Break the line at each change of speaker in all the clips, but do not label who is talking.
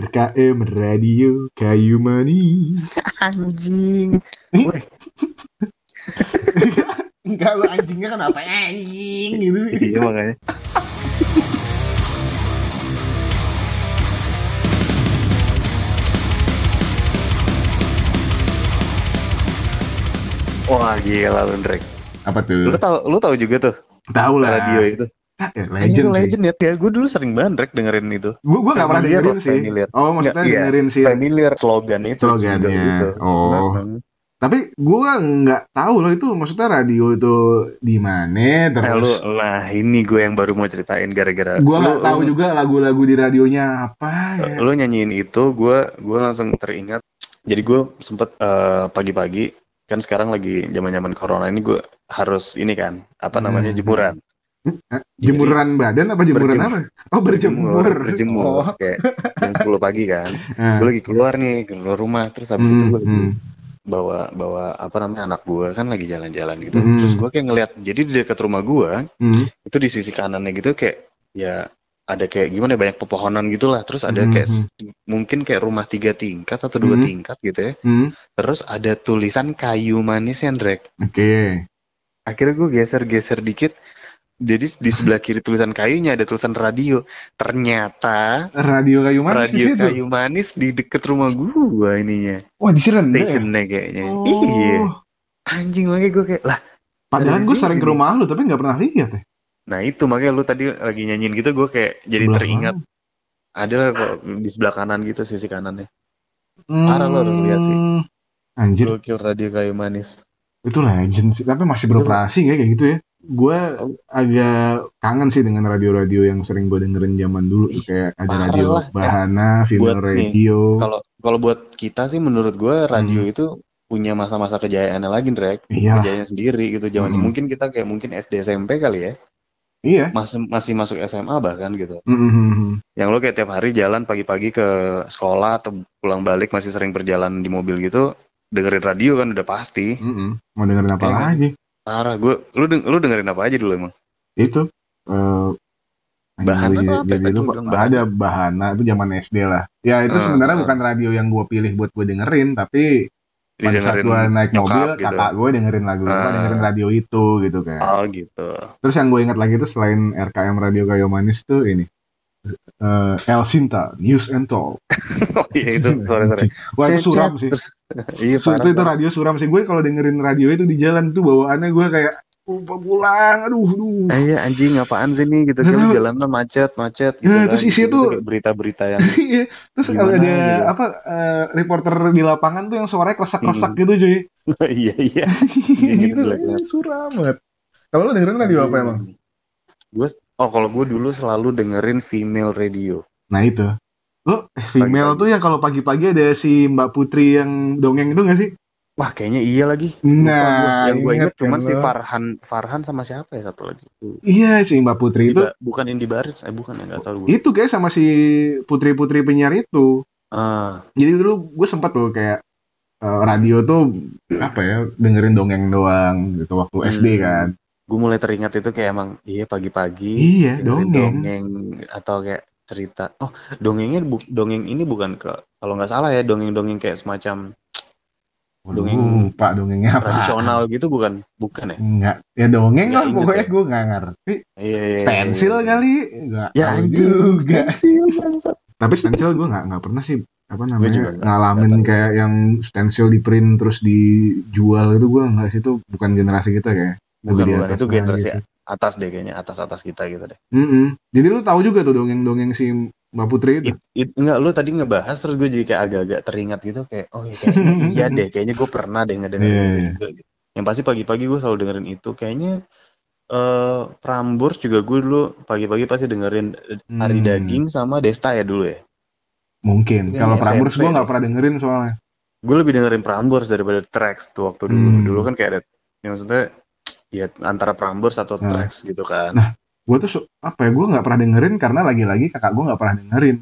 RKM Radio Kayu Manis.
Anjing.
Enggak lu anjingnya kenapa anjing gitu sih.
Iya makanya. Wah gila lu Drake.
Apa
Lu
tuh?
tau lu tau juga tuh
Tahu lah.
radio itu.
Ah, ya,
Anjing,
Nah, legend.
itu
legend.
legend ya. Ya gue dulu sering banget Drake dengerin itu.
Gua gua enggak pernah
Familiar
dengerin
lah,
sih.
familiar.
Oh, maksudnya
Nggak, iya.
dengerin sih.
Familiar slogan itu. gitu.
Slogannya.
jingle itu.
Oh. Tapi gua nggak tahu loh itu maksudnya radio itu di mana
Nah, lu,
terus.
nah ini gue yang baru mau ceritain gara-gara
Gua
lu-
nggak tahu
lu-
juga lagu-lagu di radionya apa ya.
lu nyanyiin itu gue gue langsung teringat jadi gue sempet eh, pagi-pagi kan sekarang lagi zaman zaman corona ini gue harus ini kan apa
Hmm.
namanya jemuran
Jemuran badan apa jemuran
Iya. Berjemur.
apa? Oh, berjemur.
berjemur
Oh.
kayak jam 10 pagi kan
Nah.
gue lagi keluar nih keluar rumah terus habis
Hmm,
itu gue
hmm.
bawa bawa apa namanya anak gue kan lagi jalan-jalan gitu
Hmm.
terus gue kayak ngeliat jadi di dekat rumah gue
Hmm.
itu di sisi kanannya gitu kayak ya ada kayak gimana ya, banyak pepohonan gitulah terus ada kayak
Mhm.
mungkin kayak rumah tiga tingkat atau dua
Mhm.
tingkat gitu ya
Hmm.
terus ada tulisan kayu manis Drake
Oke.
akhirnya gue geser-geser dikit jadi di sebelah kiri tulisan kayunya ada tulisan radio ternyata
Radio kayu manis di
radio
situ.
kayu manis di deket rumah gua ininya
Wah, di sini rendah ya?
stationnya kayaknya
Oh.
iya anjing makanya gue kayak lah
Padahal
Dari
gue
sini.
sering ke rumah lu tapi nggak pernah lihat ya.
nah itu makanya lu tadi lagi nyanyiin gitu gue kayak jadi
Sebelah
teringat
mana?
ada lah kok di sebelah kanan gitu sisi kanannya
Hmm.
Parah, lu harus lihat sih.
Anjir,
gokil radio kayu manis
itu legend sih. Tapi masih beroperasi nggak kayak gitu ya? Gue
Oh.
agak kangen sih dengan radio-radio yang sering gue dengerin zaman dulu tuh. kayak ada
parah
radio
lah. ya.
Bahana, Female
Buat nih,
Radio.
kalau kalau buat kita sih menurut gua
Hmm.
radio itu punya masa-masa kejayaannya lagi Drek
Iya, lah.
kejayaannya sendiri gitu
Hmm.
zaman mungkin kita kayak mungkin SD SMP kali ya
iya.
masih masih masuk SMA bahkan gitu
Mm-hmm.
yang lo kayak tiap hari jalan pagi-pagi ke sekolah atau pulang balik masih sering berjalan di mobil gitu dengerin radio kan udah pasti
Mm-mm. Mau dengerin apa
Kayak
lagi?
parah gue lu deng- lu dengerin apa aja dulu emang
Itu. eh anjing,
Bahana
jadi-
tuh apa ya?
jadi
Tadi
lupa.
lu bilang Bahana.
ada bahana itu zaman SD lah. Ya itu
Eh,
sebenarnya
eh.
bukan radio yang gue pilih buat gue dengerin, tapi pada saat
Didengerin
gue naik
nyokap
mobil
gitu.
kakak gue dengerin lagu apa
Ah.
dengerin radio itu gitu kan
oh gitu
terus yang gue ingat lagi itu selain RKM Radio Kayu Manis tuh ini eh, El Sinta News and Talk
oh iya itu sore sore
wah itu suram sih
iya
Su- itu, itu radio suram sih gue kalau dengerin radio itu di jalan tuh bawaannya gue kayak lupa pulang aduh aduh
Iya anjing apaan sih nih gitu kan
Kenapa?
jalannya macet macet gitu
Ya,
kan.
terus isinya
Gitu
tuh-
kayak berita-berita yang
Iya. terus
Gimana
ada
gitu.
apa eh, reporter di lapangan tuh yang suaranya kresak kresak gitu cuy
Hmm. iya iya
gitu
jelek
eh,
banget.
suram banget kalau lo dengerin radio apa emang
Gue oh kalau gue dulu selalu dengerin female radio.
Nah itu. Lo eh, female
Pagi-pagi.
tuh yang kalau pagi-pagi ada si Mbak Putri yang dongeng itu gak sih?
Wah kayaknya iya lagi. Lupa gua.
Nah,
yang gue
ingat
inget cuman
kan
si
lo?
Farhan Farhan sama siapa ya satu lagi?
Iya si Mbak Putri itu.
Itu bukan Indi Baris, eh bukan ya nggak tahu gue.
Itu kayak sama si putri-putri penyiar itu.
Ah,
Jadi dulu gue sempet tuh kayak eh, radio tuh apa ya dengerin dongeng doang gitu waktu
Hmm.
SD kan.
gue mulai teringat itu kayak emang iya pagi-pagi
Iya
dengerin
dongeng.
dongeng atau kayak cerita oh dongengnya bu- dongeng ini bukan ke kalau nggak salah ya dongeng-dongeng kayak semacam
Waduh,
Dongeng.
Lupa dongengnya apa?
tradisional gitu bukan bukan ya
Enggak. Ya dongeng
Nggak
lah
inget
pokoknya
ya.
gue nggak ngerti.
iya iya, iya,
Stensil
iya.
kali. Enggak
ya
tahu
anjing
juga.
stensil bangsat.
tapi stencil gue nggak nggak pernah sih apa namanya
juga nggak-
ngalamin
nggak tahu.
kayak yang stencil di print terus dijual itu gue nggak sih itu bukan generasi kita kayak
bukan
Lebih di
bukan
atas
itu ya.
banget
generasi
gitu.
atas deh kayaknya atas atas kita gitu deh
Mm-mm. jadi lu tahu juga tuh dongeng-dongeng si Mbak Putri itu
It- it- enggak lu tadi ngebahas terus gue jadi kayak agak-agak teringat gitu kayak oh iya kayaknya iya deh kayaknya gue pernah deh ngedengerin
Iya,
itu
iya.
juga gitu. yang pasti pagi-pagi gue selalu dengerin itu kayaknya eh Prambors juga gue dulu pagi-pagi pasti dengerin
Hmm,
Ari Daging Iya, sama Desta ya dulu ya
mungkin
Ini
kalau Prambors
SMP
gue nggak
deh.
pernah dengerin soalnya
gue lebih dengerin Prambors daripada Trax tuh waktu dulu.
Hmm.
Dulu kan kayak ada yang maksudnya ya antara Prambors atau
Nah.
Trax gitu kan.
gue tuh su- apa ya gue nggak pernah dengerin karena lagi-lagi kakak gue nggak pernah dengerin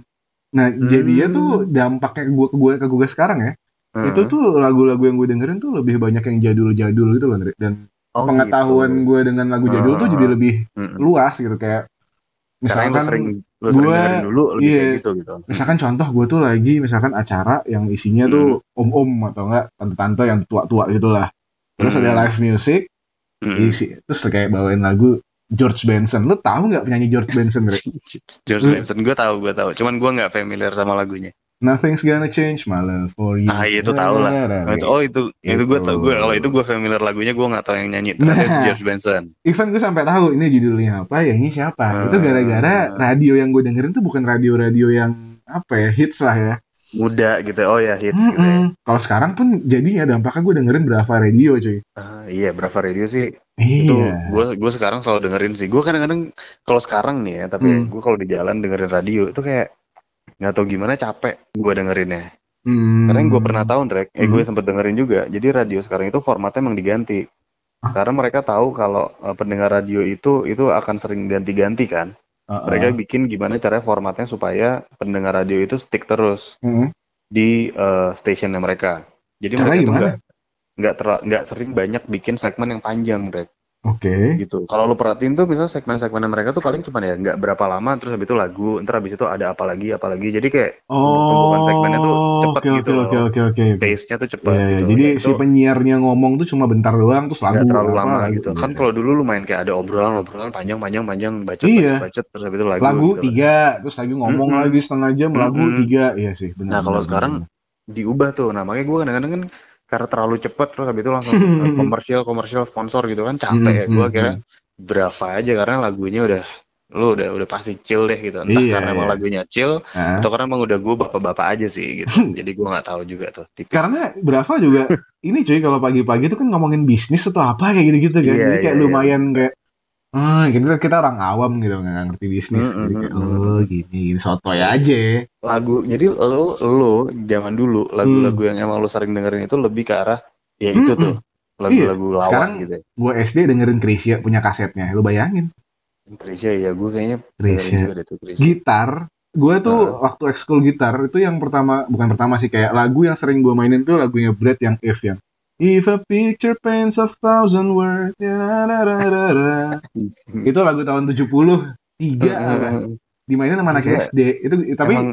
nah jadi ya
Hmm.
tuh dampaknya gue ke gue ke gue sekarang ya
Hmm.
itu tuh lagu-lagu yang gue dengerin tuh lebih banyak yang jadul-jadul gitu loh Andre. dan
Oh,
pengetahuan
gitu.
gue dengan lagu jadul tuh jadi
Ah.
lebih
Mm-mm.
luas gitu kayak
Karena emang
misalkan
sering lu sering
Gua-
dengerin dulu lebih
iya.
kayak gitu gitu
misalkan contoh gue tuh lagi misalkan acara yang isinya tuh
Hmm.
om-om atau enggak tante-tante yang tua-tua gitu lah terus
Hmm.
ada live music
Mm.
isi terus kayak bawain lagu George Benson lu tahu nggak penyanyi George Benson Greg?
George
Hmm.
Benson gue tahu gue tahu cuman gue nggak familiar sama lagunya
Nothing's gonna change my love for you Nah,
Ah, iya, itu tahu lah. oh itu, oh, itu, itu gue tau gue kalau itu gue familiar lagunya gue nggak tahu yang nyanyi ternyata itu
Gitu. Nah.
George Benson
even gue sampai tahu ini judulnya apa ya ini siapa itu
Hmm.
gara-gara radio yang gue dengerin tuh bukan radio-radio yang apa ya hits lah ya
muda gitu oh ya hits gitu ya.
Mm-mm. kalau sekarang pun jadinya dampaknya gue dengerin berapa radio cuy
Ah, iya berapa radio sih itu
iya
gue gue Gitu. sekarang selalu dengerin sih gue kadang-kadang kalau sekarang nih ya tapi
Hmm.
gue kalau di jalan dengerin radio itu kayak nggak tahu gimana capek gue dengerinnya
Hmm.
karena yang gue pernah tahu Drake eh gue
Hmm.
sempet dengerin juga jadi radio sekarang itu formatnya emang diganti
Ah.
karena mereka tahu kalau eh, pendengar radio itu itu akan sering ganti-ganti kan
Uh-uh.
mereka bikin gimana caranya formatnya supaya pendengar radio itu stick terus
Mm-mm.
di eh, stationnya mereka jadi
Caranya
mereka tuh
gimana?
nggak nggak terla- nggak sering banyak bikin segmen yang panjang Drake
oke
gitu. Kalau lu perhatiin tuh misalnya segmen-segmen mereka tuh paling cuma ya nggak berapa lama terus habis itu lagu, ntar habis itu ada apa lagi, apa lagi. Jadi kayak tumpukan segmennya tuh cepet
Oh, oke,
gitu
oke, oke,
loh.
oke, oke, oke.
pace-nya tuh cepet
Iya, iya.
gitu.
Jadi
Ya, itu
si penyiarnya ngomong tuh cuma bentar doang terus
nggak
lagu
terlalu
apa, Iya.
lama
lagu.
gitu. Kan kalau dulu lu main kayak ada obrolan-obrolan panjang-panjang-panjang bacot
Iya.
bacot, bacot, terus habis itu lagu.
lagu
gitu.
tiga terus lagi ngomong
Mm-mm.
lagi setengah jam lagu
Mm-mm.
tiga iya sih benar
Nah, kalau
benar,
sekarang
benar.
Diubah tuh. Nah, makanya gue kadang-kadang kan karena terlalu cepet terus habis itu langsung eh, komersial-komersial sponsor gitu kan capek ya.
Mm,
Gue
mm,
kira berapa aja karena lagunya udah lu udah udah pasti chill deh gitu. Entah
Iya,
karena emang
iya.
lagunya chill
Nah,
Atau karena emang udah gue bapak-bapak aja sih gitu. Jadi gue nggak tahu juga tuh. Tipis.
karena berapa juga ini cuy kalau pagi-pagi tuh kan ngomongin bisnis atau apa kayak gitu-gitu kan
Iya,
jadi kayak
iya, iya.
lumayan kayak Hmm, kita, kita orang awam gitu nggak ngerti bisnis
Mm,
Jadi
mm,
kayak,
mm,
oh gini gini sotoy aja
lagu jadi lo lo zaman dulu lagu-lagu yang emang lo sering dengerin itu lebih ke arah ya itu
Mm-mm.
tuh lagu-lagu lawas
Sekarang-
gitu. ya.
gue SD dengerin Krisya punya kasetnya lu bayangin
Trisha ya gue kayaknya dengerin
Krisya
juga deh tuh Trisha.
gitar gue tuh waktu ekskul gitar itu yang pertama bukan pertama sih kayak lagu yang sering gue mainin tuh lagunya Brad yang If yang If a picture paints a thousand words ya, da, da, da, da. itu lagu tahun 73 tiga
eh,
apa. dimainin sama anak
Iya.
SD itu tapi
Emang,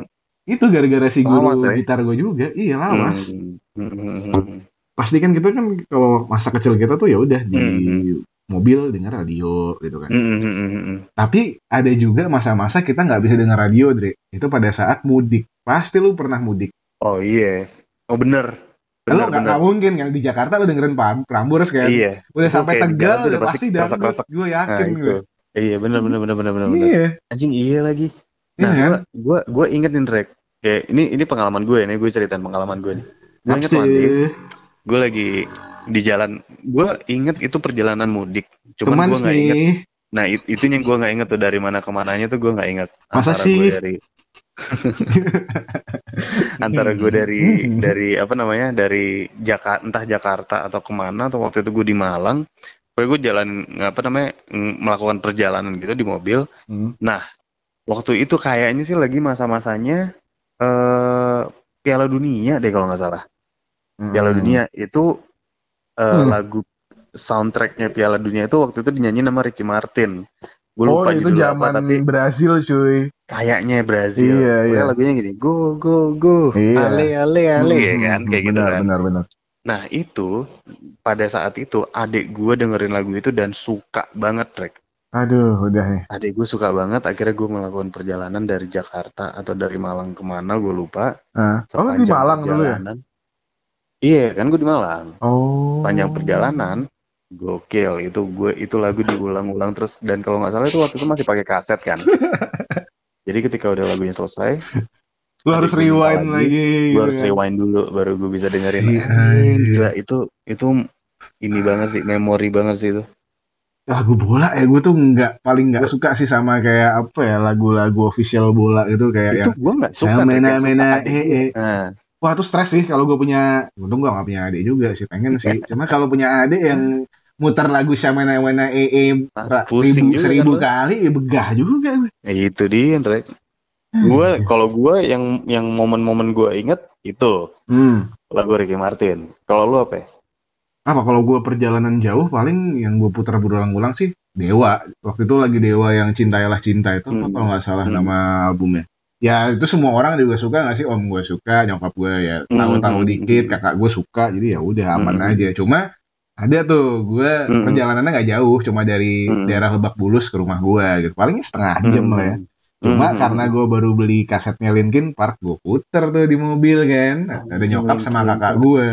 itu gara-gara si guru
Lawas, ya?
gitar gue juga iya lawas
mm, mm, mm, mm.
pasti kan kita kan kalau masa kecil kita tuh ya udah di
Hmm.
mobil denger radio gitu kan
Mm, mm, mm, mm, mm.
tapi ada juga masa-masa kita nggak bisa denger radio Dre itu pada saat mudik pasti lu pernah mudik
oh iya oh bener
Lu
bener
nggak
bener
nggak mungkin kan di Jakarta lu dengerin Pam- Prambors kan
iya
udah
Itu
sampai
kayak di jalan
Tegal
tuh
udah
udah pasti
pasti dangdut
keresek-keresek.
gue
nah
yakin
itu
gue
iya bener bener bener bener bener
iya
anjing iya lagi
iya
Nah,
kan
gue gua gua inget nih Drake. Kayak ini ini pengalaman gue nih, gue ceritain pengalaman gue nih. Gue inget
Pasti.
lagi, gue lagi di jalan. Gue inget itu perjalanan mudik. Cuman
cuman
gue nggak inget.
nih
Nah it- itu yang gue nggak inget tuh dari mana kemananya tuh gue nggak inget.
Masa
antara
sih?
Gue dari antara gue dari
Hmm.
dari apa namanya dari Jakarta entah Jakarta atau kemana atau waktu itu gue di Malang. Pokoknya gue jalan apa namanya ng- melakukan perjalanan gitu di mobil.
Hmm.
waktu itu kayaknya sih lagi masa-masanya eh Piala Dunia deh kalau nggak salah. Piala Dunia itu eh,
Hmm.
lagu soundtracknya Piala Dunia itu waktu itu dinyanyi nama Ricky Martin. Gue
Oh
lupa
itu
judul
zaman
apa tapi
Brazil cuy
kayaknya Brazil.
Iya,
Pokoknya
iya.
lagunya gini, go go go,
Iya.
ale ale ale ya
Hmm,
kan kayak gitu
benar,
kan.
Benar benar.
Nah itu pada saat itu adik gue dengerin lagu itu dan suka banget Rek.
Aduh udah nih.
Adik gue suka banget, akhirnya gue melakukan perjalanan dari Jakarta atau dari Malang kemana, gue lupa.
Ah. Oh lu di
Sepanjang
Malang dulu ya?
perjalanan. Iya kan gue di Malang.
Oh.
Panjang perjalanan, gokil itu gue itu lagu diulang-ulang terus dan kalau nggak salah itu waktu itu masih pakai kaset kan. Jadi ketika udah lagunya selesai,
Lu harus
Adik gua
rewind
minta
lagi.
gue
gitu
harus
kan.
rewind dulu baru gue bisa dengerin.
Si
Anjing,
anjing.
Gila itu itu ini banget sih memori banget sih itu.
Lagu bola ya gue tuh nggak paling nggak suka sih sama kayak apa ya lagu-lagu official bola gitu kayak
itu
yang
gue nggak suka.
saya
Rick,
mena
yang suka
mena eh,
adik gue.
eh.
Nah,
Wah tuh stres sih kalau gue punya untung gue nggak punya adik juga sih pengen sih. Cuma kalau punya adik yang muter lagu Syamena Wena EE
Nah,
seribu,
pusing juga
seribu kan?
kan
kali ya begah juga gue.
Ya, itu dia, Andre. Gue
Hmm.
kalau gue yang yang momen-momen gue inget itu
Hmm.
lagu Ricky Martin. Kalau lu apa? ya?
apa kalau gue perjalanan jauh paling yang gue putar berulang-ulang sih Dewa waktu itu lagi Dewa yang cintailah cinta itu apa
Hmm.
kalau nggak salah
Hmm.
nama albumnya ya itu semua orang juga suka nggak sih om gue suka nyokap gue ya tahu-tahu
Hmm.
dikit kan? kakak gue suka jadi ya udah aman
Hmm.
aja cuma ada tuh gue
Hmm.
perjalanannya nggak jauh cuma dari
Hmm.
daerah Lebak Bulus ke rumah gue gitu paling setengah jam lah ya Cuma
Hmm.
karena gue baru beli kasetnya Linkin Park, gue puter tuh di mobil kan. Nah, Ada
Anjing,
nyokap sama
Linkin
kakak
Park.
gue.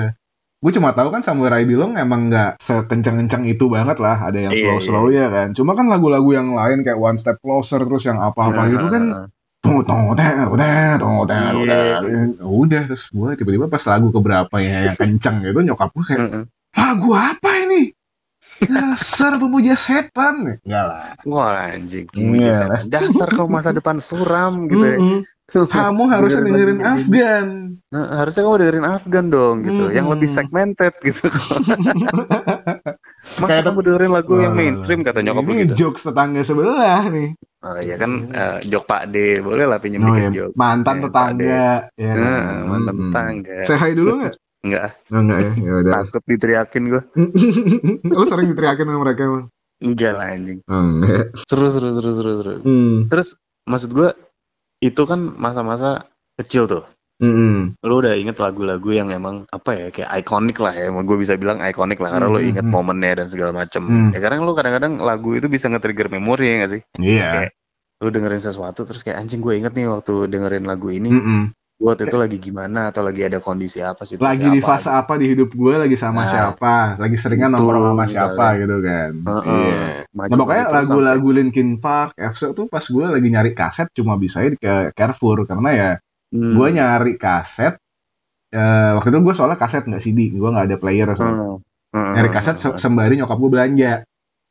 Gue cuma tahu kan Samurai Bilong emang nggak sekencang-kencang itu banget lah. Ada yang
Iya,
slow-slow ya kan. Cuma kan lagu-lagu yang lain kayak One Step Closer terus yang apa-apa gitu kan. Tong tong teng teng tong teng
Iya.
teng. Udah terus gue tiba-tiba pas lagu keberapa ya yang kencang gitu nyokap gue kayak
Heeh.
lagu apa ini? Dasar pemuja setan. Enggak lah.
Wah anjing,
Iya. Hmm.
dasar kau masa depan suram gitu. ya.
Mm-mm. Kamu harusnya dengerin
Dengerin lagu ini.
Afgan.
Nah, harusnya kamu dengerin Afgan dong gitu, yang
Hmm.
lebih segmented gitu. Masa
Kayak
kamu dengerin lagu yang
Wah.
mainstream kata nyokap lu
ini
gitu.
jokes tetangga sebelah nih.
Oh, ya kan eh, jok Pak D, boleh lah pinjem
Oh,
dikit
ya,
jok.
mantan
Ya,
tetangga. Ya,
Nah, mantan
Hmm.
tetangga.
Say hi dulu nggak?
Enggak,
Oh, enggak ya, ya udah.
takut diteriakin gue.
Lu sering diteriakin sama mereka emang?
Enggak lah anjing.
Oh, enggak.
Terus terus terus terus terus.
Hmm.
Terus maksud gue itu kan masa-masa kecil tuh.
Mm-mm.
Lo udah inget lagu-lagu yang emang apa ya kayak ikonik lah ya. Gue bisa bilang ikonik lah karena lo
Hmm,
inget
hmm.
momennya dan segala macem.
Hmm.
Ya kadang lo kadang-kadang lagu itu bisa nge-trigger memori ya nggak sih?
Iya.
Lo dengerin sesuatu terus kayak anjing gue inget nih waktu dengerin lagu ini.
Mm-mm.
Gue waktu itu lagi gimana atau lagi ada kondisi apa gitu." sih?
Lagi di fase apa di hidup gue lagi sama
Nah,
siapa, lagi seringan
betul,
nongkrong sama
misalnya.
siapa gitu kan. Iya. Nah, pokoknya lagu-lagu Linkin Park, Efso tuh pas gue lagi nyari kaset cuma bisa ke Carrefour karena ya
Hmm.
gue nyari kaset eh, waktu itu gue soalnya kaset nggak CD gue nggak ada player
Hmm.
soalnya. nyari kaset se- sembari nyokap gue belanja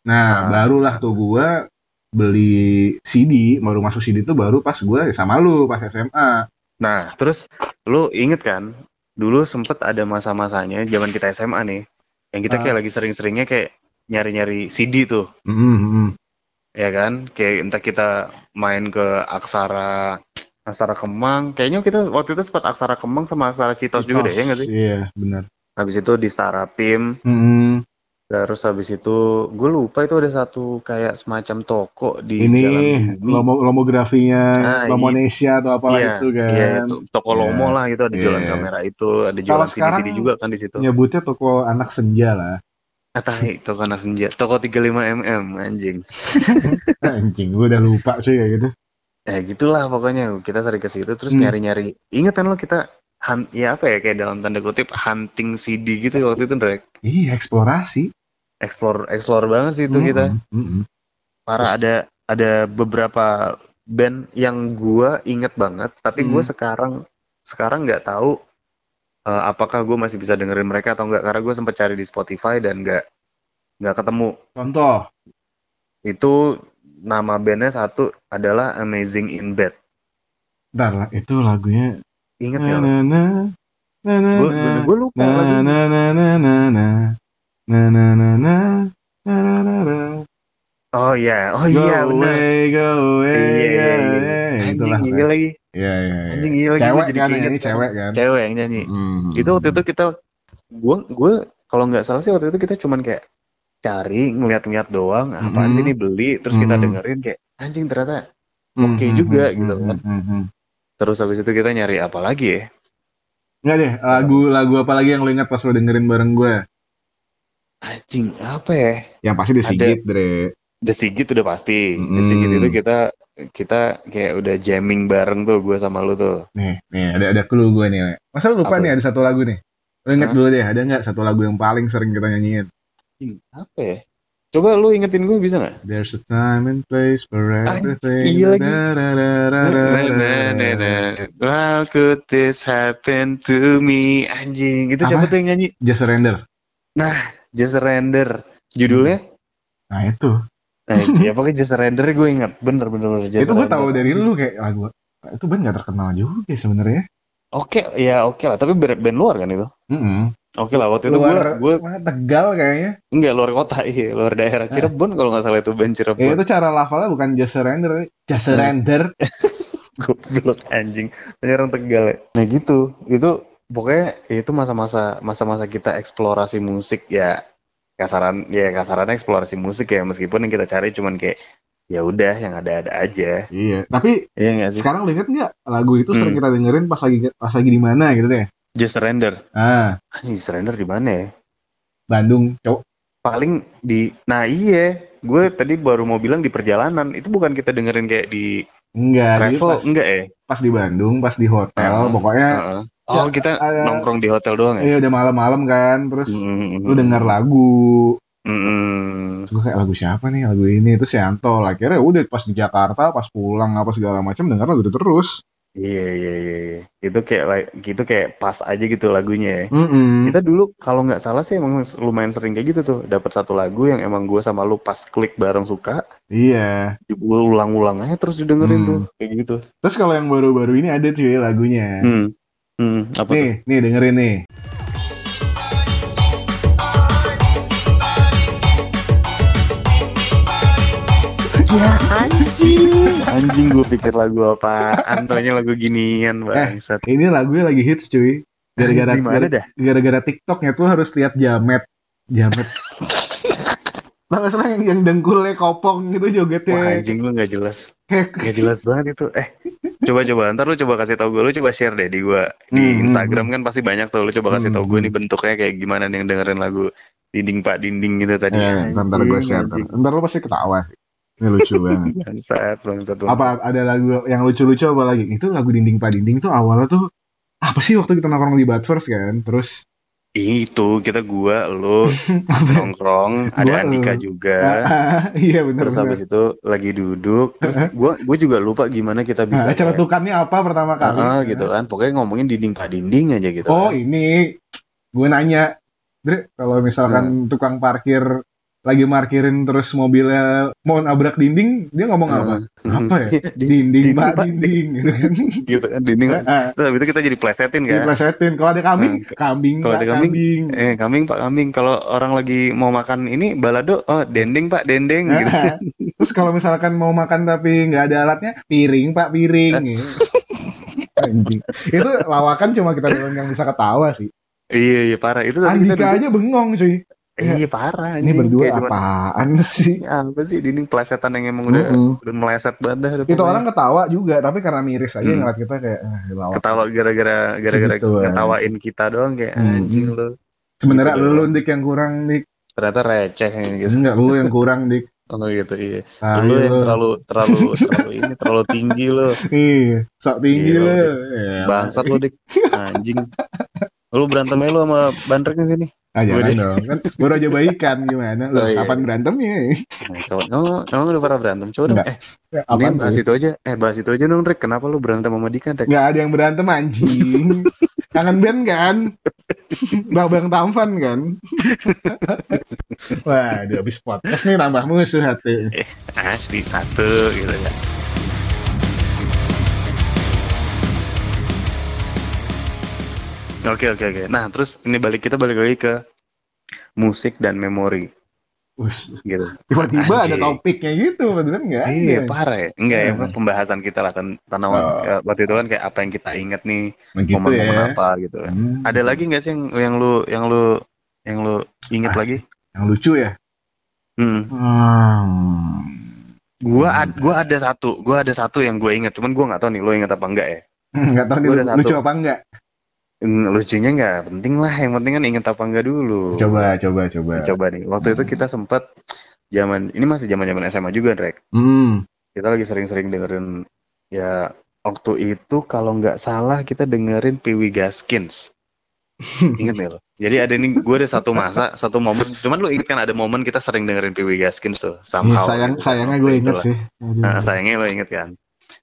nah
Ah.
barulah tuh gue beli CD baru masuk CD tuh baru pas gue sama lu pas SMA
Nah, terus lu inget kan, dulu sempet ada masa-masanya zaman kita SMA nih, yang kita kayak lagi sering-seringnya kayak nyari-nyari CD tuh,
Mm-mm.
ya kan? Kayak entah kita main ke Aksara Aksara Kemang, kayaknya kita waktu itu sempat Aksara Kemang sama Aksara Citos, juga deh, ya nggak sih?
iya Hmm, benar
Habis itu di Starapim,
Mm-mm.
terus habis itu gue lupa itu ada satu kayak semacam toko di
ini
Jalan Bumi.
lomo lomografinya
Ah, iya.
Lomonesia atau apa
Iya,
itu kan
Iya, itu toko
Iya.
Lomo lah itu ada jualan
Iya.
kamera itu, ada jualan
sekarang
CD-CD juga kan di situ.
nyebutnya toko anak senja lah
Atai, toko anak senja, toko 35 mm anjing.
anjing gue udah lupa cuy kayak gitu
Ya gitulah pokoknya kita sering ke situ terus
Hmm.
nyari-nyari. Ingat kan lo kita hun- ya apa ya kayak dalam tanda kutip hunting CD gitu ya waktu itu Drek.
iya eksplorasi
Explore explore banget sih itu kita.
Mm-mm. Hmm. Terus-
Parah ada ada beberapa band yang gua inget banget tapi gua
Hmm.
sekarang sekarang nggak tahu eh, apakah gua masih bisa dengerin mereka atau enggak karena gua sempat cari di Spotify dan nggak nggak ketemu.
contoh
Itu nama bandnya satu adalah Amazing in Bed.
Bentar lah, itu lagunya
Ingat ya?
na
lo?
na na na na
Gue
na
gue lupa
na
lagu.
na na na na na na na na na na na na na
Oh iya, oh
Go
iya benar.
away, go away,
Iya,
go away.
iya, iya.
ya, Itulah,
Anjing
Pak.
gila lagi,
Iya, iya, iya.
anjing gila lagi. Gua
Cewek
jadi
kan,
keinget
ini
sekarang.
cewek kan.
Cewek yang nyanyi.
Hmm.
Itu waktu itu kita, gue gue kalau nggak salah sih waktu itu kita cuman kayak cari ngeliat-ngeliat doang. Apaan
Mm-mm.
sih ini beli? Terus kita
Mm-mm.
dengerin kayak anjing ternyata.
Hmm,
oke
hmm,
juga,
hmm,
gitu
hmm,
kan.
hmm, hmm.
Terus habis itu kita nyari apa lagi ya?
Nggak deh, lagu lagu apa lagi yang lo ingat pas lo dengerin bareng gue?
Anjing apa ya?
Yang pasti disigit, Dre.
The Sigit udah pasti. The
Mm.
Sigit itu kita kita kayak udah jamming bareng tuh gue sama lu tuh.
Nih, nih ada ada clue gue nih. Le. Masa lu lupa
Apa?
nih ada satu lagu nih? Lo inget
Hah?
dulu deh, ada nggak satu lagu yang paling sering kita nyanyiin?
Anjing, apa ya? Coba lu ingetin gue bisa nggak?
There's a time and place for everything.
iya lagi.
Da, da, da, da, da,
Na,
da,
na, na,
da.
na. How could this happen to me? Anjing, itu
Apa?
siapa tuh yang nyanyi?
Just surrender.
Just Surrender. Judulnya?
Nah itu,
Anjing, ya pokoknya Just Surrender gue ingat. Bener, bener, bener. Just
itu gue tahu
Surrender.
dari lu kayak lagu. Itu band gak terkenal juga sebenarnya.
Oke, ya oke lah. Tapi ber- band luar kan itu?
Mm-hmm.
Oke lah, waktu itu gue,
Luar,
gue
mana, tegal kayaknya.
enggak luar kota, iya, luar
Ah.
daerah Cirebon kalau nggak salah itu band
Ya
Cirebon.
itu cara lafalnya bukan just surrender, just surrender.
Goblok anjing, penyerang Tegal ya. Nah gitu, itu pokoknya itu masa-masa masa-masa kita eksplorasi musik ya kasaran ya kasaran eksplorasi musik ya meskipun yang kita cari cuman kayak ya udah yang ada-ada aja
Iya. Tapi
iya nggak sih
sekarang lu inget nggak lagu itu sering
Hmm.
kita dengerin pas lagi pas lagi di mana gitu deh.
just surrender
Ah,
anjing Just surrender di mana ya
Bandung. Cowok.
paling di nah iya gue tadi baru mau bilang di perjalanan itu bukan kita dengerin kayak di
Enggak, jadi
travel
Nah, pas,
enggak ya
pas di Bandung, pas di hotel,
Ah.
pokoknya
Heeh. oh kita
ada-
nongkrong di hotel doang ya
eh,
Mm-hmm.
Iya udah malam-malam kan, terus
Mm-mm.
lu denger lagu,
Mm-mm.
terus gue kayak lagu siapa nih lagu ini, terus Yanto lah. Akhirnya udah pas di Jakarta, pas pulang apa segala macam denger lagu itu terus.
iya iya iya iya. itu kayak like- gitu kayak pas aja gitu
Hmm.
lagunya ya
Mm-mm.
kita dulu kalau nggak salah sih emang lumayan sering kayak gitu tuh dapat satu lagu yang emang gue sama lu pas klik bareng suka
Iya.
gue ulang-ulang aja terus
Hmm.
didengerin tuh kayak gitu
Terus kalau yang baru-baru ini ada cuy lagunya.
hmm. Hmm, apa tuh?
Nih, nih dengerin nih.
Ya anjing Anjing gue pikir lagu apa Antonya lagu ginian bangsat
Ini lagunya lagi hits cuy. Eh, Gara-gara
Anjing, mana dah
gara-gara TikToknya tuh harus lihat jamet, jamet. Nah, nggak salah yang, yang dengkulnya kopong gitu
Wah
jogetnya.
anjing lu gak jelas
Kayak-
Gak jelas banget itu Eh coba-coba ntar lu coba kasih tau gue Lu coba share deh di gue Di
Hmm,
Instagram kan pasti banyak tuh Lu coba kasih
Hmm,
tau gue nih bentuknya kayak gimana nih Yang dengerin lagu Dinding Pak Dinding gitu tadi
Eh, ntar, ntar gue
Anjing,
share.
anjing.
Ntar, ntar lu pasti ketawa sih. Ini lucu banget.
Bangsat, bangsat, bangsat.
apa ada lagu yang lucu-lucu apa lagi? Itu lagu dinding pak dinding tuh awalnya tuh apa sih waktu kita nongkrong di Batverse kan? Terus
Itu kita gua, lu
Gua,
nongkrong, ada Andika
lu.
juga.
iya bener
Ya. Terus habis
bener.
itu lagi duduk. Terus gua gua juga lupa gimana kita
Nah,
bisa. ya.
acara
kayak,
tukannya apa pertama kali?
"Ah, ah," gitu kan. Pokoknya ngomongin dinding pak dinding aja gitu.
Oh
kan.
ini gue nanya, Dre kalau
Nah.
misalkan tukang parkir lagi markirin terus mobilnya mau nabrak dinding, dia ngomong
Ah,
apa?
ah.
Apa ya?
Di-
Dinding
dinding,
pak
Pak.
dinding gitu kan?
gitu kan dinding.
Ah,
Terus habis itu kita jadi plesetin kan.
Diplesetin. Kalau ada kambing, kambing
Nah, Kalau
pak
ada kambing,
kambing.
Eh, kambing Pak Kambing. Kalau orang lagi mau makan ini balado, oh dendeng Pak dendeng gitu.
Ah, Terus kalau misalkan mau makan tapi nggak ada alatnya, piring pak piring. gitu. Anjing. Itu lawakan cuma kita doang yang bisa ketawa sih.
Iya iya parah. Itu tadi
Andika
kita duduk-
aja bengong cuy.
Iya parah.
Ini
anjing.
berdua
Kayak cuman,
apaan sih?
apa sih dinding plesetan yang emang udah
Mm-mm.
udah meleset banget dah. udah
Hmm. Itu
pokoknya.
orang ketawa juga, tapi karena miris aja
Iya. Hmm.
ngeliat kita kayak ah, lawakan.
ketawa gara-gara gara-gara
Segituan.
ngetawain kita doang
Gitu,
kayak
eh. Hmm.
anjing lu.
Sebenarnya
gitu
lu
doang.
lu, dik yang kurang dik.
Ternyata receh gitu.
Enggak, lu yang kurang dik.
Oh gitu iya.
Ah,
lu
iya,
yang
lu.
terlalu terlalu terlalu ini terlalu tinggi lu.
Iya, sok tinggi
Iya,
lu.
Dik.
Ya,
Bangsat lu dik. Anjing. Lu berantem aja lu sama bandreknya sini.
Ah, jangan
Gue deh.
dong. Kan baru aja baikan gimana? Lu
Oh, iya,
kapan
iya.
berantemnya?
Nah, coba- emang, emang udah pernah berantem? Coba dong.
Enggak.
Eh,
Apaan
mendingan
tuh?
bahas itu aja. Eh, bahas itu aja dong, Rick. Kenapa lu berantem sama Dika, Rick?
Nggak ada yang berantem anjing. Kangen band kan? Bang-bang tampan kan? Wah, udah habis podcast nih nambah musuh hati.
Asli satu gitu ya. Oke oke oke. Nah terus ini balik kita balik lagi ke musik dan memori
Us,
gitu.
tiba-tiba ada
Anjing.
topiknya gitu, bener nggak?
Iya parah ya. Enggak ya
Hmm.
pembahasan kita lah kan tanah
Oh.
eh, waktu itu kan kayak apa yang kita ingat nih
Nah, gitu
momen-momen
ya.
apa gitu. kan.
Hmm.
Ada lagi nggak sih yang yang lu yang lu yang lu inget
Ah.
lagi?
yang lucu ya?
Hmm.
Hmm.
Gua ad- gua ada satu, gua ada satu yang gue inget. Cuman gua nggak tahu nih lu inget apa enggak ya.
Nggak tahu nih
Gua ada
lu- lucu
satu.
apa enggak?
Hmm, lucunya nggak penting lah yang penting kan inget apa nggak dulu
Coba, coba, coba.
coba nih waktu itu kita sempat zaman ini masih zaman zaman SMA juga Drek
Hmm.
kita lagi sering-sering dengerin ya waktu itu kalau nggak salah kita dengerin Piwi Gaskins inget nih lo jadi ada nih gue ada satu masa satu momen cuman lu inget kan ada momen kita sering dengerin Piwi Gaskins tuh
Iya,
somehow
sayang,
gitu.
sayangnya gue inget sih. Aduh.
Nah, sayangnya lo inget kan.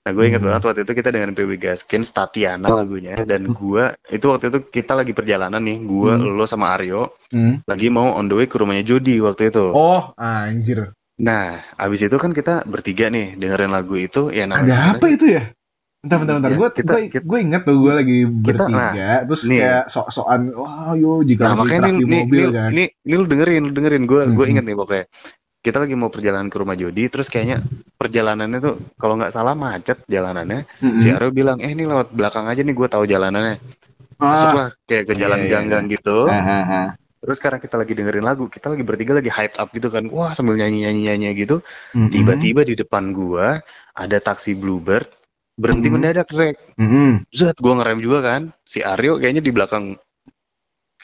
Nah, gue inget
Hmm. Oh.
banget waktu itu kita dengan PW Gaskins, Tatiana lagunya, dan gua itu waktu itu kita lagi perjalanan nih, gua
Hmm.
lo sama Aryo
Hmm.
lagi mau on the way ke rumahnya Jody waktu itu.
Oh, anjir.
Nah, abis itu kan kita bertiga nih dengerin lagu itu, ya namanya
Ada
gimana
apa
sih?
itu ya? Bentar, bentar, bentar.
Iya,
Gue
kita- kita-
gue inget tuh gue lagi
Kita- nah,
bertiga, terus
nih. ya.
kayak sok-sokan, wah yo jika
Nah,
lagi
makanya
gerak di
nih, nih,
mobil
nih,
kan.
nih, nih lu dengerin, lu dengerin gue, gue
Mhm.
inget nih pokoknya. Kita lagi mau perjalanan ke rumah Jody, terus kayaknya perjalanannya tuh kalau nggak salah macet jalanannya.
Mm-mm.
Si Aryo bilang, eh ini lewat belakang aja nih, gue tahu jalanannya.
Ah,
masuklah kayak ke
Iya,
jalan
iya,
ganggang gitu
ah, ah, ah.
Terus karena kita lagi dengerin lagu, kita lagi bertiga lagi hyped up gitu kan. Wah, sambil nyanyi-nyanyi-nyanyi gitu,
Mm-mm. Hmm.
tiba-tiba di depan gua ada taksi Bluebird berhenti
Mhm.
mendadak, Rek.
Mm-mm.
Zat, gua ngerem juga kan. Si Aryo kayaknya di belakang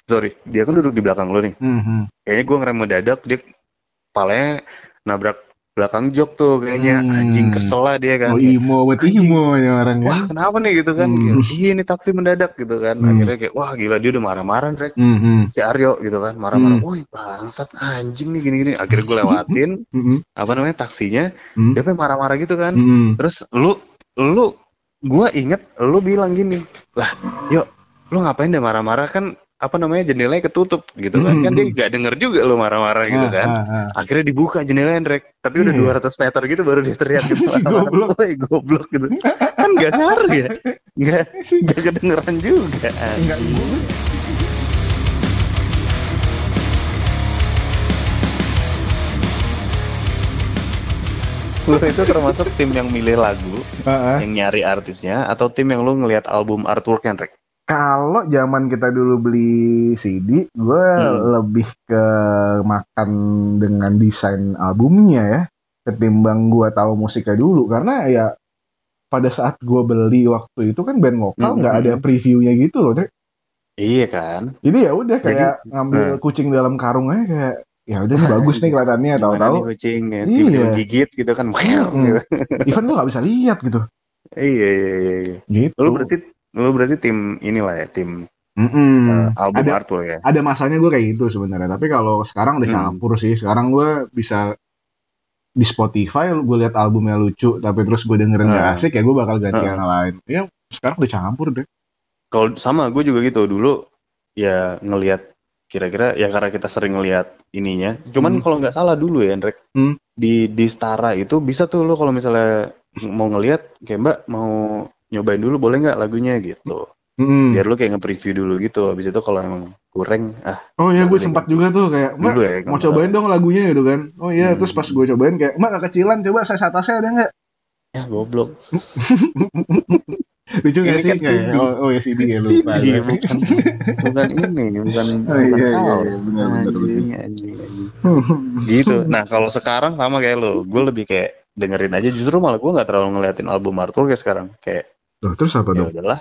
Sorry, dia kan duduk di belakang lo nih.
Mm-mm.
Kayaknya gua ngerem mendadak, dia kepalanya nabrak belakang jok tuh kayaknya
Hmm.
anjing kesel lah dia kan.
Oh imo, buat imo ya orang ya.
wah kenapa nih gitu kan
Hmm.
iya ini taksi mendadak gitu kan
Hmm.
akhirnya kayak wah gila dia udah marah-marah Rek.
Mm-mm.
si Aryo gitu kan
Hmm.
marah-marah woi bangsat anjing nih gini-gini akhirnya gue lewatin
Mm-mm.
apa namanya taksinya
Hmm.
dia kayak marah-marah gitu kan
Mm-mm.
terus lu lu gue inget lu bilang gini lah yuk lu ngapain deh marah-marah kan apa namanya jendelanya ketutup gitu kan
Hmm.
kan dia gak denger juga lu marah-marah gitu
Ah,
kan
ah, ah.
akhirnya dibuka jendelanya Rek tapi udah
Iya, iya.
200 meter gitu baru dia teriak gitu
Si goblok.
Woi, goblok gitu kan gak ngaruh ya gak, gak kedengeran juga
Enggak imo.
lu itu termasuk tim yang milih lagu
Ah, ah.
yang nyari artisnya atau tim yang lu ngelihat album artworknya Rek
Kalau zaman kita dulu beli CD, gue
Hmm.
lebih ke makan dengan desain albumnya ya, ketimbang gue tahu musiknya dulu. Karena ya pada saat gue beli waktu itu kan band lokal
Hmm,
nggak
hmm,
ada previewnya gitu loh. Dek.
iya kan
Jadi ya udah kayak ngambil
hmm.
kucing dalam karung aja kayak ya udah ini bagus nih kelihatannya
Gimana
tahu-tahu.
nih kucing ya,
Iya.
tiba-tiba gigit gitu kan meow,
Hmm.
gitu.
Even gue nggak bisa lihat gitu.
iya iya iya iya.
Gitu.
lu berarti lu berarti tim inilah ya tim
Mm-mm.
eh, album
Hmm. Ada-
artwork ya
ada masanya gue kayak gitu sebenarnya tapi kalau sekarang udah
Hmm.
campur sih sekarang gue bisa di Spotify gue lihat albumnya lucu tapi terus gue dengerin nggak
Hmm.
asik ya gue bakal ganti
Hmm.
yang lain ya sekarang udah campur deh
kalau sama gue juga gitu dulu ya ngelihat kira-kira ya karena kita sering ngelihat ininya cuman
Hmm.
kalau nggak salah dulu ya Hendrik
Hmm.
di di Stara itu bisa tuh lu kalau misalnya mau ngelihat kayak mbak mau nyobain dulu boleh nggak lagunya gitu
Mm-mm.
biar lu kayak nge-preview dulu gitu habis itu kalau emang kurang ah
oh ya gue
Boleh
sempat
gitu.
juga tuh kayak mbak
dulu ya kalau
mau
nggak
cobain dong lagunya gitu kan oh iya
Hmm.
terus pas gue cobain kayak mbak kekecilan coba saya sata saya ada nggak
salah. ya goblok
lucu nggak
Ini
sih
kan
Nggak ya?
CD.
oh, oh ya CD ya lupa
CD, bukan, bukan ini, bukan,
Oh,
bukan
iya, iya,
kaos.
iya, benar, benar,
Anjing, anjing, anjing. Gitu. Nah, kalau sekarang sama kayak lo, gue lebih kayak dengerin aja. Justru malah gue nggak terlalu ngeliatin album Arthur kayak sekarang. Kayak
Loh, terus apa
ya
dong
udahlah.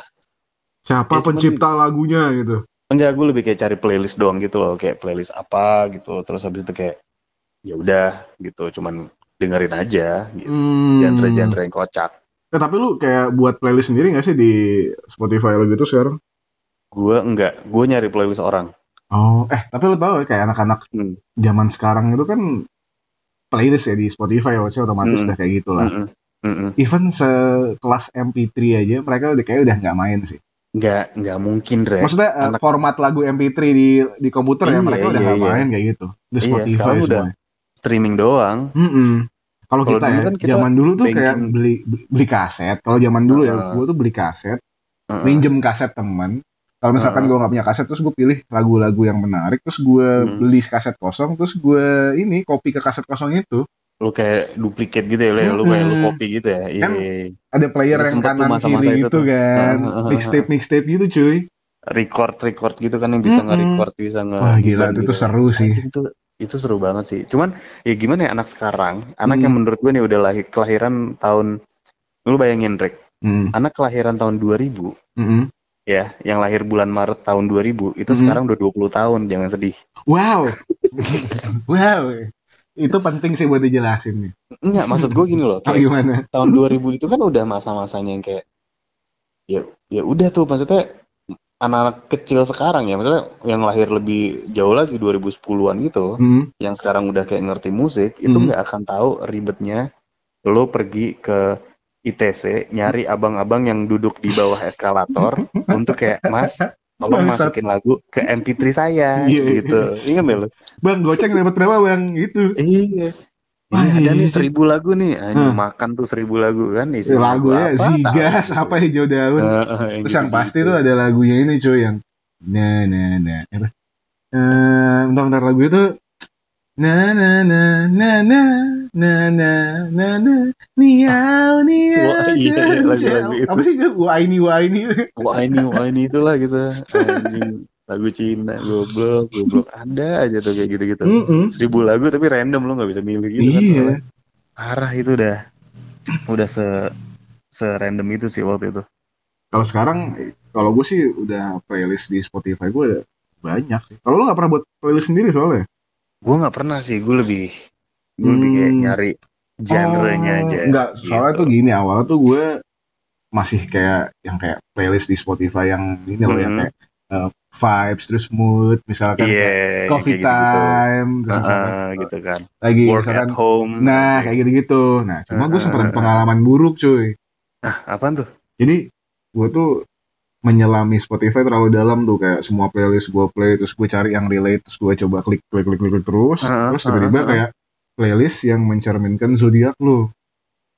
siapa
Ya, cuman-
pencipta lagunya gitu
Enggak, gue lebih kayak cari playlist doang gitu loh. Kayak playlist apa gitu. Terus habis itu kayak ya udah gitu. Cuman dengerin aja. Gitu.
Hmm.
Genre-genre yang kocak.
Eh, tapi lu kayak buat playlist sendiri gak sih di Spotify lo gitu sekarang?
Gue enggak. Gue nyari playlist orang.
Oh, eh tapi lu tahu kayak anak-anak
Hmm.
zaman sekarang itu kan playlist ya di Spotify maksudnya otomatis
Mm-mm.
udah kayak gitu lah.
Mm-mm. Mm-mm.
Even sekelas MP3 aja mereka udah kayak udah nggak main sih.
Enggak, enggak mungkin, Rek.
Maksudnya eh,
anak-
format lagu MP3 di di komputer ya
Iya,
mereka udah
iya,
nggak
iya.
main kayak gitu. Di
Iya,
Spotify
sekarang
semua.
udah Streaming doang.
Mm-mm. Kalau
Kalau
kita
dulu
ya,
kan kita
zaman dulu tuh
banking.
kayak beli beli kaset. Kalau zaman dulu ya,
Uh-uh.
gue tuh beli kaset.
Heeh.
minjem kaset temen kalau misalkan
Heeh.
gue nggak punya kaset terus gue pilih lagu-lagu yang menarik terus gue
Hmm.
beli kaset kosong terus gue ini copy ke kaset kosong itu
lu kayak duplikat gitu ya, lu, ya, lu kayak lu copy gitu ya. Iya.
Kan ada player
Ini
yang
sempet tuh
kanan
masa-masa
kiri
itu
gitu
tuh.
kan
Heeh.
mixtape mixtape gitu cuy
Record record gitu kan yang bisa
Mm-mm.
nge-record, bisa nge
wah gila itu
gitu.
tuh seru sih
Anjing, itu itu seru banget sih. Cuman ya gimana ya anak sekarang, anak
Hmm.
yang menurut gue nih udah lahir kelahiran tahun lu bayangin Rick,
Mm,
anak kelahiran tahun 2000
mm-mm.
ya, yang lahir bulan Maret tahun 2000 itu
Mm.
sekarang udah 20 tahun, jangan sedih.
wow wow itu penting sih buat dijelasin nih
Enggak, maksud gue gini loh.
Apa
kayak-
gimana
tahun 2000 itu kan udah masa-masanya yang kayak ya ya udah tuh maksudnya anak-anak kecil sekarang ya maksudnya yang lahir lebih jauh lagi 2010-an gitu
Mm,
yang sekarang udah kayak ngerti musik itu
Hmm.
nggak akan tahu ribetnya lo pergi ke ITC nyari abang-abang yang duduk di bawah eskalator untuk kayak mas tolong
Bangsat.
masukin lagu ke MP3 saya
Iya, iya,
gitu ingat nggak lo
bang goceng dapat berapa bang gitu
Iya.
Wah,
Ini ada
iya
nih
sih.
seribu lagu nih, Anjing,
Hmm.
makan tuh seribu lagu kan isi
lagunya
apa,
zigas
tahu.
apa hijau daun
Eh, eh, yang
Terus yang
gitu-gitu.
pasti tuh ada lagunya ini cuy yang na na na apa? Eh, bentar bentar lagu itu na na na na na na na na na niau niau
Wah, iya, iya,
jan,
lagu-lagu
jan.
itu.
apa sih itu wah ini wah ini
Wah ini, wah ini itulah gitu. Anjing. lagu Cina goblok goblok ada aja tuh kayak gitu gitu
Mm-mm.
seribu lagu tapi random lo nggak bisa milih gitu kan
Iya.
parah itu udah udah se se random itu sih waktu itu
Kalau sekarang, kalau gue sih udah playlist di Spotify gue ada banyak sih. Kalau lo nggak pernah buat playlist sendiri soalnya.
gue nggak pernah sih gue lebih gue lebih kayak
Hmm.
nyari genre-nya
Oh,
aja
Enggak,
gitu.
soalnya tuh gini awalnya tuh gue masih kayak yang kayak playlist di Spotify yang ini loh yang
Mhm.
kayak eh, vibes terus mood misalkan
Iya,
kayak
kayak
coffee
gitu-gitu.
time terus
Ah,
misalkan
ah, gitu kan
lagi
work
misalkan
at home
nah kayak gitu-gitu. Nah, cuma gue sempat
Ah.
pengalaman buruk cuy.
ah apaan tuh
Jadi gue tuh menyelami Spotify terlalu dalam tuh kayak semua playlist gue play terus gue cari yang relate terus gue coba klik klik klik klik, klik terus
Ah,
terus
ah,
tiba-tiba
ah, ah.
kayak playlist yang mencerminkan zodiak lo.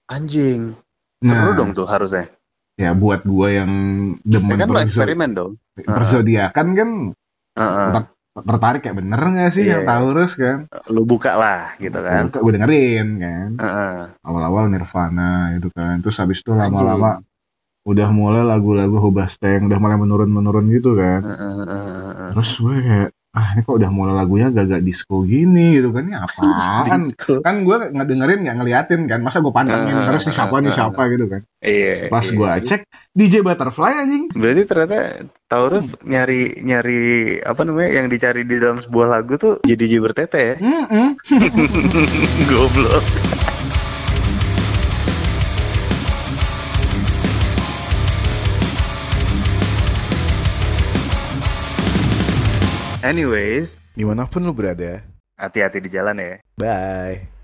anjing seru
Nah,
dong tuh harusnya
ya buat gue yang demen
ya kan lo
perzo-
eksperimen dong
perzodiakan kan
Ah, ah.
tertarik ya bener nggak sih
Iya,
yang
iya.
Taurus kan?
lo buka lah gitu kan
Gue dengerin kan
Ah, ah.
awal-awal Nirvana gitu kan terus habis itu
Anjing.
lama-lama udah mulai lagu-lagu Hobasteng udah mulai menurun-menurun gitu kan
Ah, ah, ah, ah, ah.
terus gue kayak ah ini kok udah mulai lagunya agak-agak disco gini gitu kan ini apaan
Disco.
kan gue nggak dengerin nggak ngeliatin kan masa gue pantengin
Ah,
terus nih siapa nih
ah,
siapa gitu kan
Iya.
pas
iya.
gue cek DJ Butterfly anjing
Berarti ternyata Taurus nyari nyari apa namanya yang dicari di dalam sebuah lagu tuh jadi bertete ya.
Mm-mm.
Goblok. Anyways,
dimanapun lu berada.
hati-hati di jalan ya.
Bye.